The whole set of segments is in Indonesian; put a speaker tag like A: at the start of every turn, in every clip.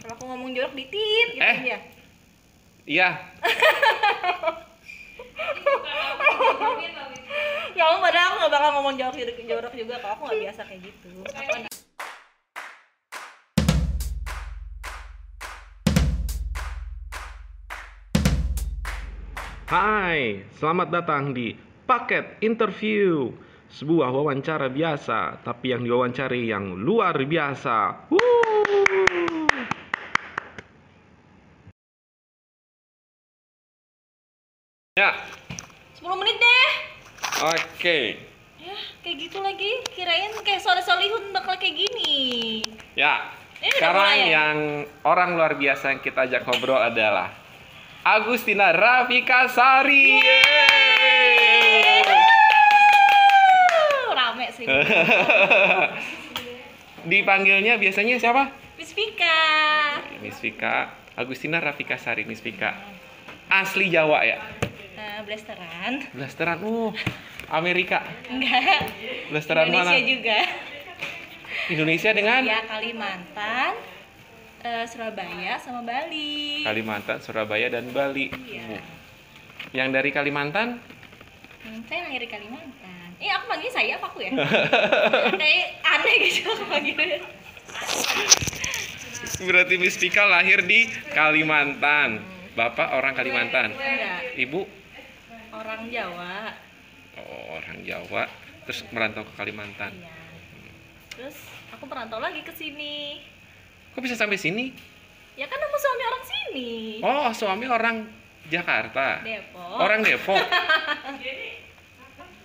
A: Kalau aku ngomong jorok ditit gitu
B: Eh.
A: aja.
B: Iya,
A: Ya Allah, padahal aku gak bakal ngomong jorok jorok juga kalau aku gak biasa kayak gitu.
B: Hai, selamat datang di Paket Interview. Sebuah wawancara biasa, tapi yang diwawancari yang luar biasa. Wuh. Ya,
A: 10 menit deh.
B: oke.
A: Ya, kayak gitu lagi. Kirain kayak soleh-solihun bakal kayak gini.
B: Ya.
A: Ini udah
B: Sekarang
A: mulai ya?
B: yang orang luar biasa yang kita ajak ngobrol adalah Agustina Rafika Sari. Yeay.
A: Wuh, Rame sih.
B: Dipanggilnya biasanya siapa?
A: Miss Vika.
B: Miss Vika, Agustina Rafika Sari, Miss Vika. Asli Jawa ya?
A: Nah, blasteran.
B: Blasteran, uh, Amerika.
A: Enggak.
B: Blasteran
A: Indonesia
B: mana? Kan?
A: juga.
B: Indonesia dengan
A: Ya Kalimantan, eh, Surabaya sama Bali.
B: Kalimantan, Surabaya, dan Bali.
A: Iya.
B: Uh. Yang dari Kalimantan,
A: Hmm, saya lahir di Kalimantan. Eh, aku panggil saya apa aku ya? Kayak aneh gitu aku panggilnya.
B: berarti Miss Vika lahir di Kalimantan. Bapak orang Kalimantan,
A: Enggak,
B: ibu
A: orang Jawa.
B: oh, orang Jawa, terus merantau ke Kalimantan.
A: Iya. Terus aku merantau lagi ke sini.
B: Kok bisa sampai sini?
A: Ya kan aku suami orang sini.
B: Oh, suami orang Jakarta.
A: Depok.
B: Orang Depok.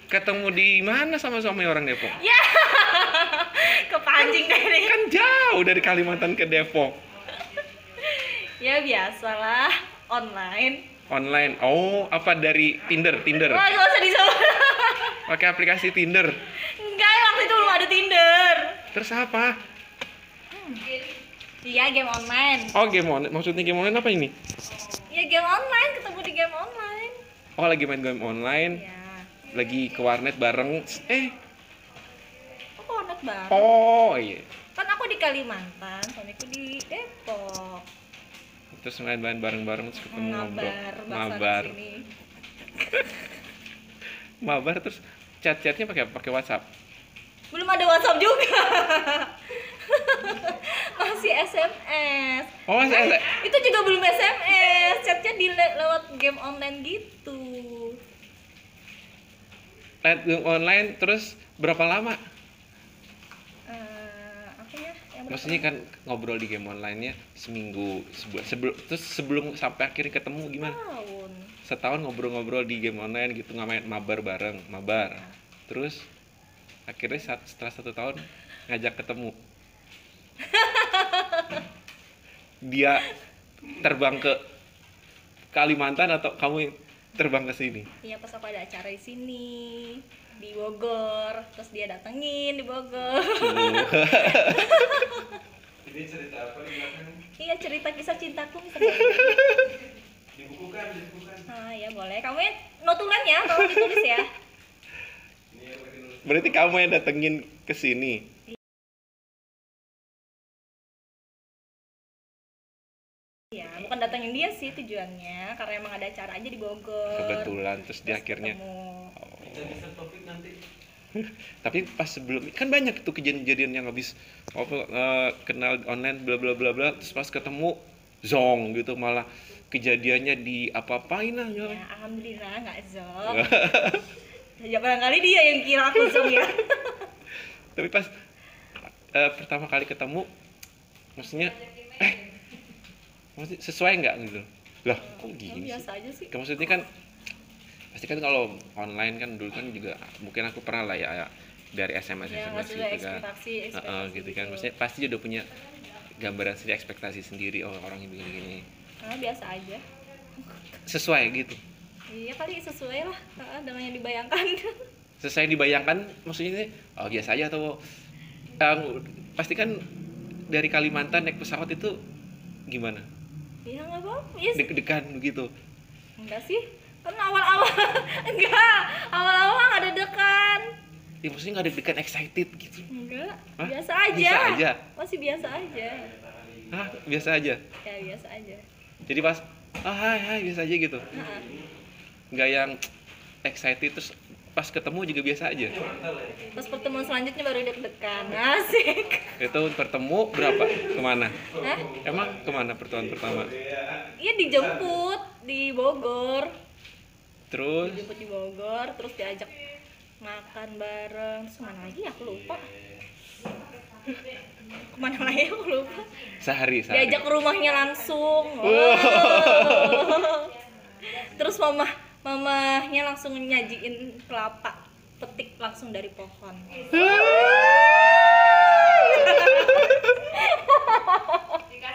B: Ketemu di mana sama suami orang Depok?
A: kepancing dari.
B: Kan jauh dari Kalimantan ke Depok.
A: Ya biasalah online.
B: Online. Oh, apa dari Tinder? Tinder.
A: Wah, gak usah disebut.
B: Pakai aplikasi Tinder.
A: Enggak, waktu itu belum ada Tinder. Hmm.
B: Terus apa?
A: Iya, game online.
B: Oh, game online. Maksudnya game online apa ini?
A: Ya game online, ketemu di game online.
B: Oh, lagi main game online,
A: Ya.
B: lagi ke warnet bareng. Eh,
A: Kok konek banget?
B: oh iya.
A: Kan aku di Kalimantan, suamiku di Depok.
B: Terus main-main bareng-bareng terus ketemu ngobrol.
A: Ngabar,
B: Mabar.
A: bahasa di sini.
B: Mabar terus chat-chatnya pakai pakai WhatsApp.
A: Belum ada WhatsApp juga. Masih SMS.
B: Oh, saya, saya-
A: Itu juga belum SMS, chatnya di le- lewat game online gitu.
B: lihat game online terus berapa lama?
A: Eh, apa ya? Yang berapa?
B: Maksudnya kan ngobrol di game online-nya seminggu sebulan sebelum terus sebelum sampai akhirnya ketemu gimana?
A: tahun.
B: Setahun ngobrol-ngobrol di game online gitu nggak main mabar bareng, mabar. Terus akhirnya saat, setelah satu tahun ngajak ketemu. Dia terbang ke Kalimantan atau kamu yang terbang ke sini?
A: Iya, pas aku ada acara di sini di Bogor, terus dia datengin di Bogor.
C: Jadi cerita apa di belakang?
A: Iya cerita kisah cintaku misalnya.
C: Dibukukan, dibukukan.
A: Ah ya boleh. Kamu ya, notulan ya, tolong ditulis ya.
C: Ini yang pakai nulis.
B: Berarti kamu yang datengin ke sini.
A: Iya, bukan datangin dia sih tujuannya, karena emang ada acara aja di Bogor.
B: Kebetulan terus
A: Terus
B: dia akhirnya
A: ketemu.
C: Bisa bisa topik nanti.
B: tapi pas sebelum kan banyak tuh kejadian-kejadian yang habis apa eh, kenal online bla bla bla bla terus pas ketemu zong gitu malah kejadiannya di apa-apain lah ya.
A: Ya, alhamdulillah nggak zong. ya barangkali dia yang kira aku zong ya.
B: tapi pas eh, pertama kali ketemu maksudnya eh maksudnya sesuai nggak gitu lah kok
A: Kamu
B: gini sih
A: biasa aja sih.
B: Kayak maksudnya kan pasti kan kalau online kan dulu kan juga mungkin aku pernah lah ya, ya, dari SMS
A: Ya,
B: SMS
A: maksudnya
B: gitu kan
A: ekspektasi,
B: Heeh,
A: ekspektasi
B: gitu kan
A: gitu.
B: maksudnya pasti udah punya gambaran sendiri ekspektasi sendiri oh orang yang begini gini
A: Karena gitu. Ah, biasa aja.
B: sesuai gitu
A: Iya kali sesuai lah ah, dengan yang dibayangkan.
B: sesuai dibayangkan maksudnya ini oh biasa aja atau eh, pasti kan dari Kalimantan naik pesawat itu gimana
A: Iya nggak apa-apa. Iya sih.
B: deg-degan gitu. begitu
A: Enggak sih. Karena awal-awal enggak. Awal-awal nggak ada dekan.
B: ya, maksudnya nggak deg-degan excited gitu
A: Enggak,
B: Hah?
A: biasa aja.
B: Bisa aja.
A: Masih biasa aja.
B: Hah? biasa aja
A: ya biasa aja
B: jadi pas ah hai hai biasa aja gitu
A: Heeh.
B: nggak yang excited terus pas ketemu juga biasa aja
C: Ini wortel ya.
A: terus pertemuan selanjutnya baru deg-degan asik
B: itu bertemu berapa kemana
A: Hah?
B: emang kemana pertemuan pertama
C: Iya.
A: iya dijemput di Bogor
B: terus
A: dijemput di Bogor terus diajak makan bareng Terus kemana lagi ya? aku lupa kemana lagi ya? aku lupa
B: sehari sehari
A: diajak ke rumahnya langsung
B: Wow.
A: Wow. terus mama mamahnya langsung nyajiin kelapa petik langsung dari pohon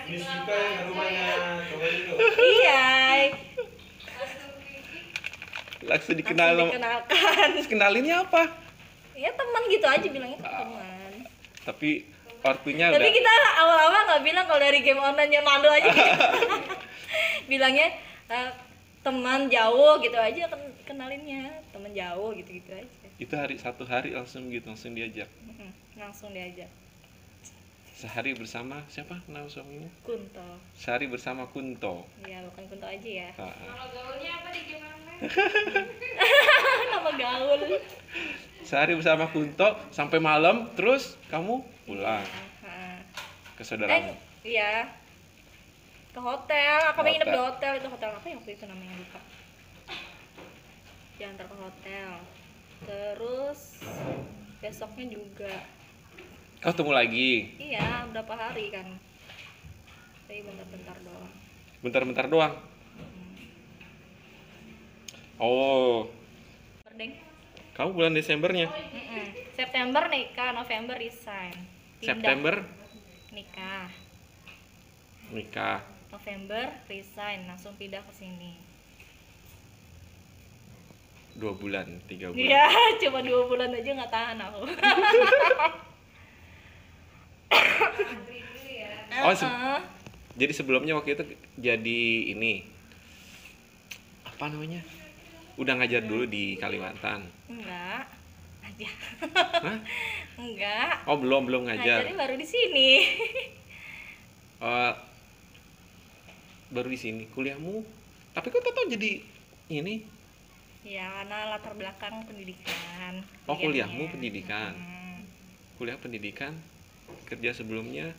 C: Miss kita yang ke rumahnya coba itu.
A: iya
B: langsung dikenal
A: langsung
B: sama-
A: dikenalkan
B: terus kenalinnya apa
A: ya teman gitu aja bilangnya tuh teman
B: tapi artinya
A: tapi
B: udah
A: kita awal-awal nggak bilang kalau dari game online yang malu aja gitu. bilangnya eh, teman jauh gitu aja ken- kenalinnya teman jauh gitu gitu aja
B: itu hari satu hari langsung gitu langsung diajak
A: Mm-mm, langsung diajak
B: sehari bersama siapa nama suaminya
A: kunto
B: sehari bersama Kunto
A: ya bukan kunto aja ya
B: Ah, ah.
D: Kalau gaulnya apa di game online?
A: nama gaul
B: sehari bersama Kunto sampai malam terus kamu pulang
A: Heeh.
B: ke
A: eh
B: saudaramu
A: iya ke hotel aku
B: Hotel.
A: pengen nginep di hotel itu hotel apa yang waktu itu namanya lupa diantar ke hotel terus besoknya juga
B: kau ketemu lagi
A: iya berapa hari kan tapi bentar-bentar doang
B: bentar-bentar doang oh
A: Berdeng.
B: kamu bulan Desembernya
A: Mm-mm. September nikah November resign Pindah.
B: September
A: nikah
B: nikah
A: November resign langsung pindah ke sini
B: dua bulan tiga bulan
A: Iya, cuma dua bulan aja nggak tahan aku.
D: Antri dulu ya.
B: Oh, se-
A: Heeh.
B: jadi sebelumnya waktu itu jadi ini apa namanya udah ngajar dulu di Kalimantan
A: enggak. Aja.
B: Hah?
A: Enggak.
B: oh belum belum
A: Ngajarnya
B: ngajar
A: baru di sini.
B: Eh, baru di sini kuliahmu tapi kok tau jadi ini
A: ya, karena latar belakang pendidikan. Iya,
B: Oh,
A: kuliahnya.
B: kuliahmu pendidikan.
A: Mm.
B: kuliah pendidikan kerja sebelumnya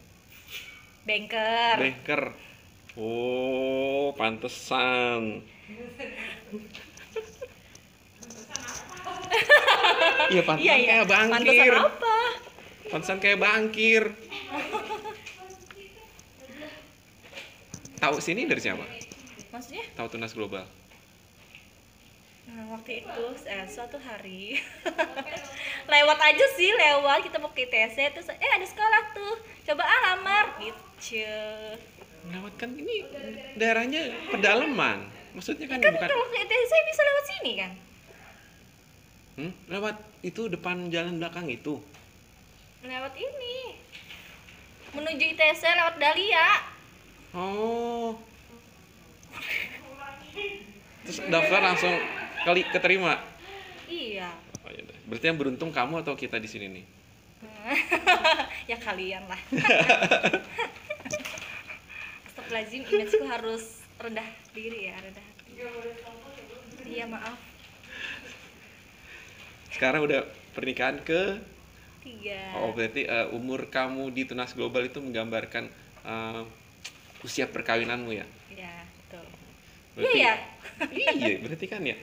A: Banker.
B: banker oh pantesan
A: iya.
B: iya pantesan
A: Iya, iya.
B: kayak bangkir
A: Pantesan apa?
B: pantesan kayak bangkir tahu sini dari siapa
A: Maksudnya?
B: tahu tunas global
A: Nah, waktu itu eh, suatu hari lewat aja sih lewat kita mau ke TC terus eh ada sekolah tuh coba ah lamar gitu
B: lewat kan ini daerahnya pedalaman maksudnya kan
A: kan
B: bukan
A: kalau ke ITC bisa lewat sini kan
B: Hmm? lewat itu depan jalan belakang itu
A: lewat ini menuju ITC lewat Dahlia
B: oh terus daftar langsung kali keterima
A: iya
B: oh, ya udah. berarti yang beruntung kamu atau kita di sini nih
A: Hmm. ya kalian lah Astagfirullahaladzim imageku harus rendah diri ya rendah hati iya maaf
B: sekarang udah pernikahan ke
A: tiga
B: oh berarti eh, umur kamu di tunas global itu menggambarkan eh, usia perkawinanmu ya
A: ya betul iya
B: Berarti-
A: ya
B: iya berarti kan ya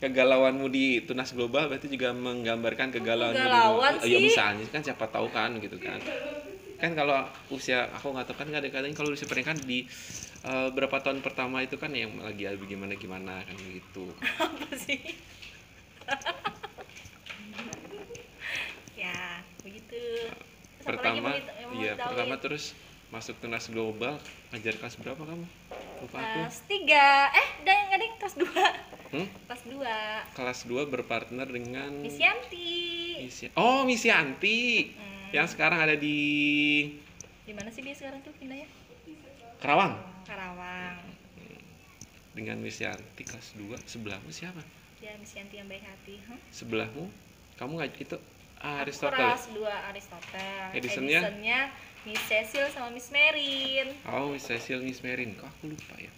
B: kegalauanmu di tunas global berarti juga menggambarkan kegalauan
A: kegalauan
B: ya
A: sih?
B: misalnya kan siapa tahu kan gitu kan kan kalau usia aku nggak tahu kan kadang-kadang kalau usia pernikahan di eh, berapa tahun pertama itu kan yang lagi ya gimana gimana kan gitu
A: apa sih ya begitu Terus apa lagi
B: pertama
A: mau kita- yang mau
B: iya
A: kita
B: pertama
A: tahuin?
B: terus masuk tunas global ngajar kelas berapa kamu lupa aku
A: kelas tiga eh udah yang ada yang kelas dua
B: Hmm?
A: kelas dua
B: kelas 2 berpartner dengan
A: Miss Yanti
B: Misi- oh Misi Anti
A: Hmm.
B: yang sekarang ada di
A: di mana sih dia sekarang tuh pindahnya
B: Karawang
A: Karawang
B: dengan Miss Yanti kelas 2 sebelahmu siapa?
A: ya Miss Yanti yang baik hati huh?
B: Sebelahmu kamu ngaj itu Aristotle.
A: kelas 2 Aristotle
B: Edisonnya?
A: Edisonnya Miss Cecil sama Miss Merin
B: Oh, Miss Cecil, Miss Merin. Kok aku lupa ya?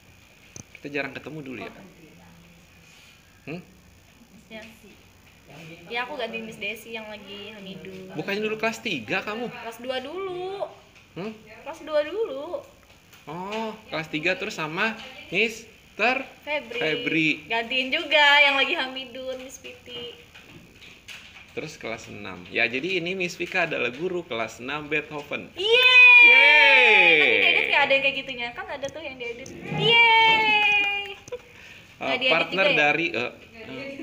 B: Kita jarang ketemu dulu ya.
A: Oh.
B: Hmm?
A: Missnya ya aku ganti Miss Desi yang lagi Hamidu
B: Bukannya dulu kelas 3 kamu?
A: kelas 2 dulu
B: Hmm?
A: kelas 2 dulu
B: Oh, kelas 3 terus sama Mister
A: Febri.
B: Febri.
A: gantiin juga yang lagi Hamidun Miss Piti
B: terus kelas 6. Ya, jadi ini Miss Vika adalah guru kelas 6 Beethoven.
A: Yeay kan di edit
B: Yeay.
A: nggak ada yang kayak gitunya kan ada tuh yang diedit Yeay
B: Eh,
A: Nggak diedit
B: partner
A: juga ya?
B: dari eh,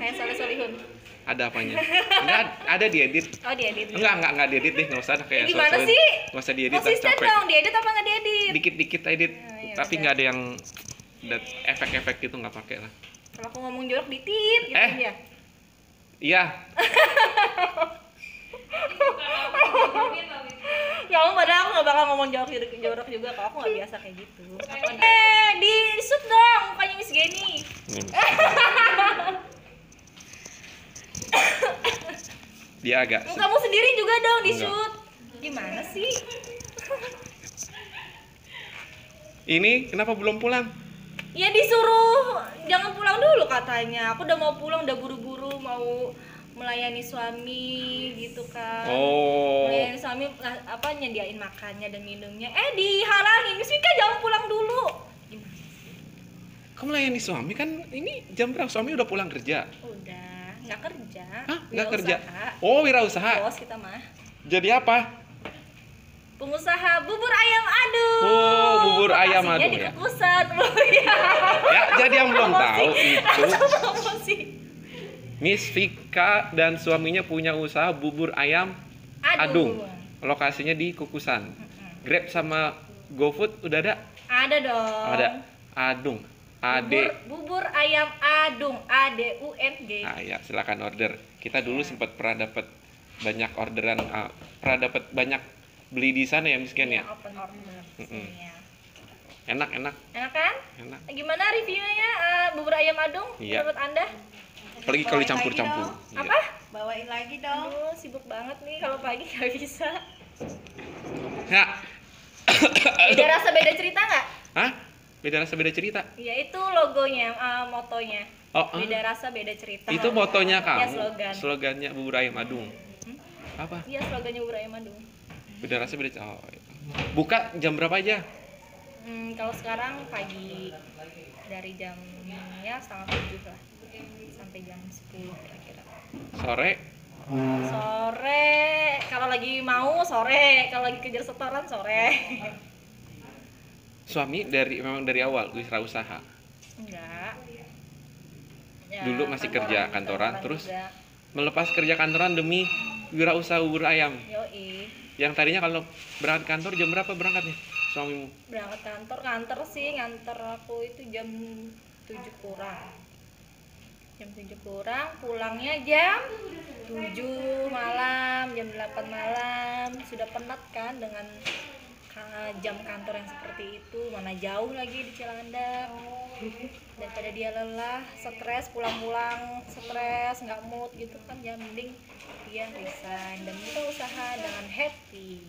A: kayak Soleh Solihun
B: ada apanya? Enggak, ada diedit.
A: oh diedit
B: Enggak, enggak, enggak diedit deh, enggak usah dah kayak
A: Eh, gimana
B: soal-soal-
A: sih?
B: Enggak usah diedit, dah,
A: konsisten
B: capek.
A: dong diedit apa nggak diedit
B: Dikit-dikit edit,
A: Oh, iya,
B: tapi
A: udah.
B: enggak ada yang dat- efek-efek gitu enggak pakai lah.
A: kalau aku ngomong jorok ditit gitu
B: Eh.
A: ya
B: Iya,
A: Ya ampun, padahal aku gak bakal ngomong jorok-jorok juga kalau aku gak biasa kayak gitu Eh, di shoot dong mukanya Miss Geni
B: Nih, Miss. Dia agak se-
A: Mukamu sendiri juga dong di
B: Enggak.
A: shoot Gimana sih?
B: Ini kenapa belum pulang?
A: Ya disuruh jangan pulang dulu katanya Aku udah mau pulang, udah buru-buru mau melayani suami gitu kan
B: Oh.
A: Melayani suami nah, apa nyediain makannya dan minumnya Eh dihalangi, Miss Mika jangan pulang dulu Gimana?
B: Kamu layani suami kan ini jam berapa? Suami udah pulang kerja.
A: Udah, nggak kerja
B: Hah? Nggak kerja.
A: Wirausaha.
B: Oh, wirausaha.
A: Bos kita mah
B: Jadi apa?
A: pengusaha bubur ayam adu.
B: Oh, bubur ayam
A: Lokasinya
B: adu,
A: di
B: ya.
A: Kekusan. Oh iya.
B: Ya, jadi yang belum
A: Promosi.
B: tahu itu
A: Promosi.
B: Miss Vika dan suaminya punya usaha bubur ayam Adung. Lokasinya di Kukusan.
A: Mm-mm.
B: Grab sama GoFood udah ada?
A: Ada dong.
B: Ada. Adung. Ade.
A: Bubur, bubur ayam adung. A D U N G.
B: Nah, ya silakan order. Kita
A: Ya.
B: dulu sempat pernah dapat banyak orderan, ah, pernah dapat banyak beli di sana ya miskin ya.
A: Open order.
B: Mm-mm.
A: Iya.
B: Enak, enak,
A: Enak kan?
B: enak.
A: Gimana reviewnya ya eh, bubur ayam adung
B: Iya.
A: menurut Anda?
B: Apalagi kalau dicampur-campur. Iya.
A: Apa?
D: Bawain lagi dong.
A: Aduh, sibuk banget nih kalau pagi nggak bisa.
B: Ya.
A: Beda rasa beda cerita nggak?
B: Hah? Beda rasa beda cerita.
A: Ya itu logonya, eh, motonya.
B: Oh, ah.
A: Beda rasa, beda cerita.
B: itu motonya
A: Ya,
B: kamu.
A: slogan.
B: Slogannya bubur ayam adung.
A: Hmm?
B: Apa?
A: Iya, slogannya Bubur Ayam Adung.
B: Beda rasa beda. Oh. iya. Buka jam berapa aja?
A: Hmm, kalau sekarang pagi dari jam ya setengah tujuh lah sampai jam 10 kira-kira.
B: Sore.
A: Sore, kalau lagi mau sore, kalau lagi kejar setoran sore.
B: Suami dari memang dari awal wirausaha.
A: Enggak. Ya,
B: Dulu masih kerja kantoran, terus?
A: juga.
B: Melepas kerja kantoran demi wirausaha bubur ayam.
A: Yoi.
B: Yang tadinya kalau berangkat kantor jam berapa berangkatnya suamimu?
A: berangkat kantor kantor sih nganter aku itu jam 7 kurang jam 7 kurang pulangnya jam 7 malam jam 8 malam sudah penat kan dengan ka- jam kantor yang seperti itu mana jauh lagi di Cilandak daripada dia lelah stres pulang-pulang stres nggak mood gitu kan ya mending dia resign dan kita usaha dengan happy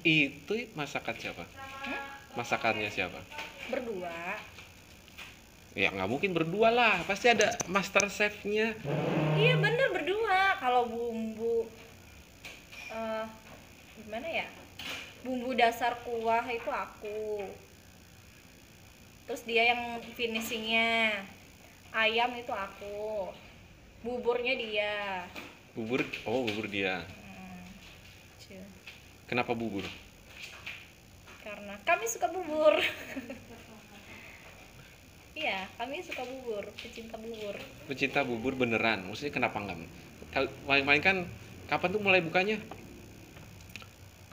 B: Itu masakan siapa? Masakannya siapa?
A: berdua
B: Ya nggak mungkin berdua lah, pasti ada master chefnya.
A: Iya bener berdua kalau bumbu eh gimana ya bumbu dasar kuah itu aku terus dia yang finishingnya ayam itu aku buburnya dia
B: Bubur, oh bubur dia.
A: Hmm, cu.
B: Kenapa bubur?
A: karena kami suka bubur iya kami suka bubur pecinta bubur
B: Pecinta bubur beneran, maksudnya kenapa nggak? Kal- Main-main kan, kapan tuh mulai bukanya?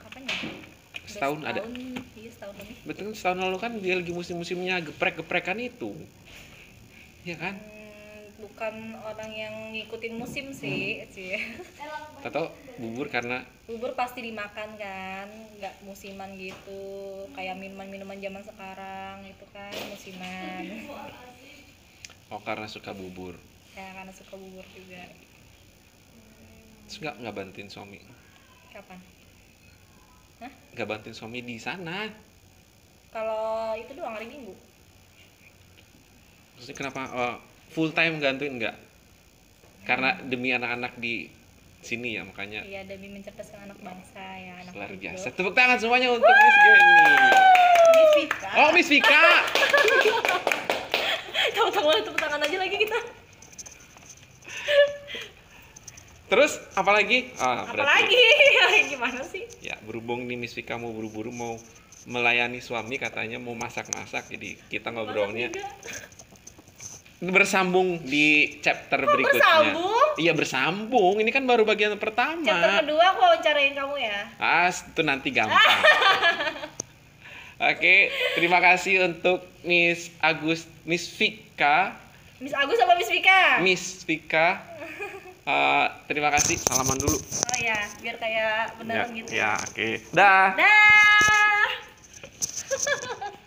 A: kapan ya Udah
B: Setahun ada.
A: iya setahun lebih
B: Betul setahun lalu kan dia lagi musim-musimnya geprek-geprekan itu, ya kan?
A: Hmm, bukan orang yang ngikutin musim sih
B: Hmm.
A: sih
B: Atau bubur karena
A: bubur pasti dimakan kan nggak musiman gitu kayak minuman minuman zaman sekarang itu kan musiman
B: oh karena suka bubur.
A: ya karena suka bubur juga
B: Terus nggak nggak bantuin suami,
A: Kapan?
B: nggak bantuin suami di sana.
A: Kalau itu doang hari Minggu.
B: Maksudnya kenapa eh, full time gantuin nggak? Karena demi anak-anak di sini ya makanya
A: Iya, demi mencerdaskan anak bangsa ya, anak
B: luar
A: Tujuh.
B: biasa. Tepuk tangan semuanya untuk Miss Granny.
A: Miss Vika.
B: Oh Miss Vika.
A: Tepuk tangan boleh tepuk tangan aja lagi kita.
B: Terus apalagi? Ah, berarti-
A: Apalagi? Iya, Gimana sih?
B: Ya berhubung nih Miss Vika mau buru-buru mau melayani suami katanya mau masak-masak jadi kita ngobrolnya
A: Banget juga.
B: bersambung di chapter
A: Kok
B: berikutnya.
A: bersambung?
B: Iya bersambung. Ini kan baru bagian pertama.
A: Chapter kedua aku wawancarain kamu ya.
B: Ah, itu nanti gampang. Oke, terima kasih untuk Miss Agus, Miss Vika,
A: Miss Agus apa Miss Vika?
B: Miss Vika. Eh, terima kasih. Salaman dulu.
A: Oh ya, biar gitu. kayak beneran gitu.
B: ya, ya, oke. Dah.
A: Dah.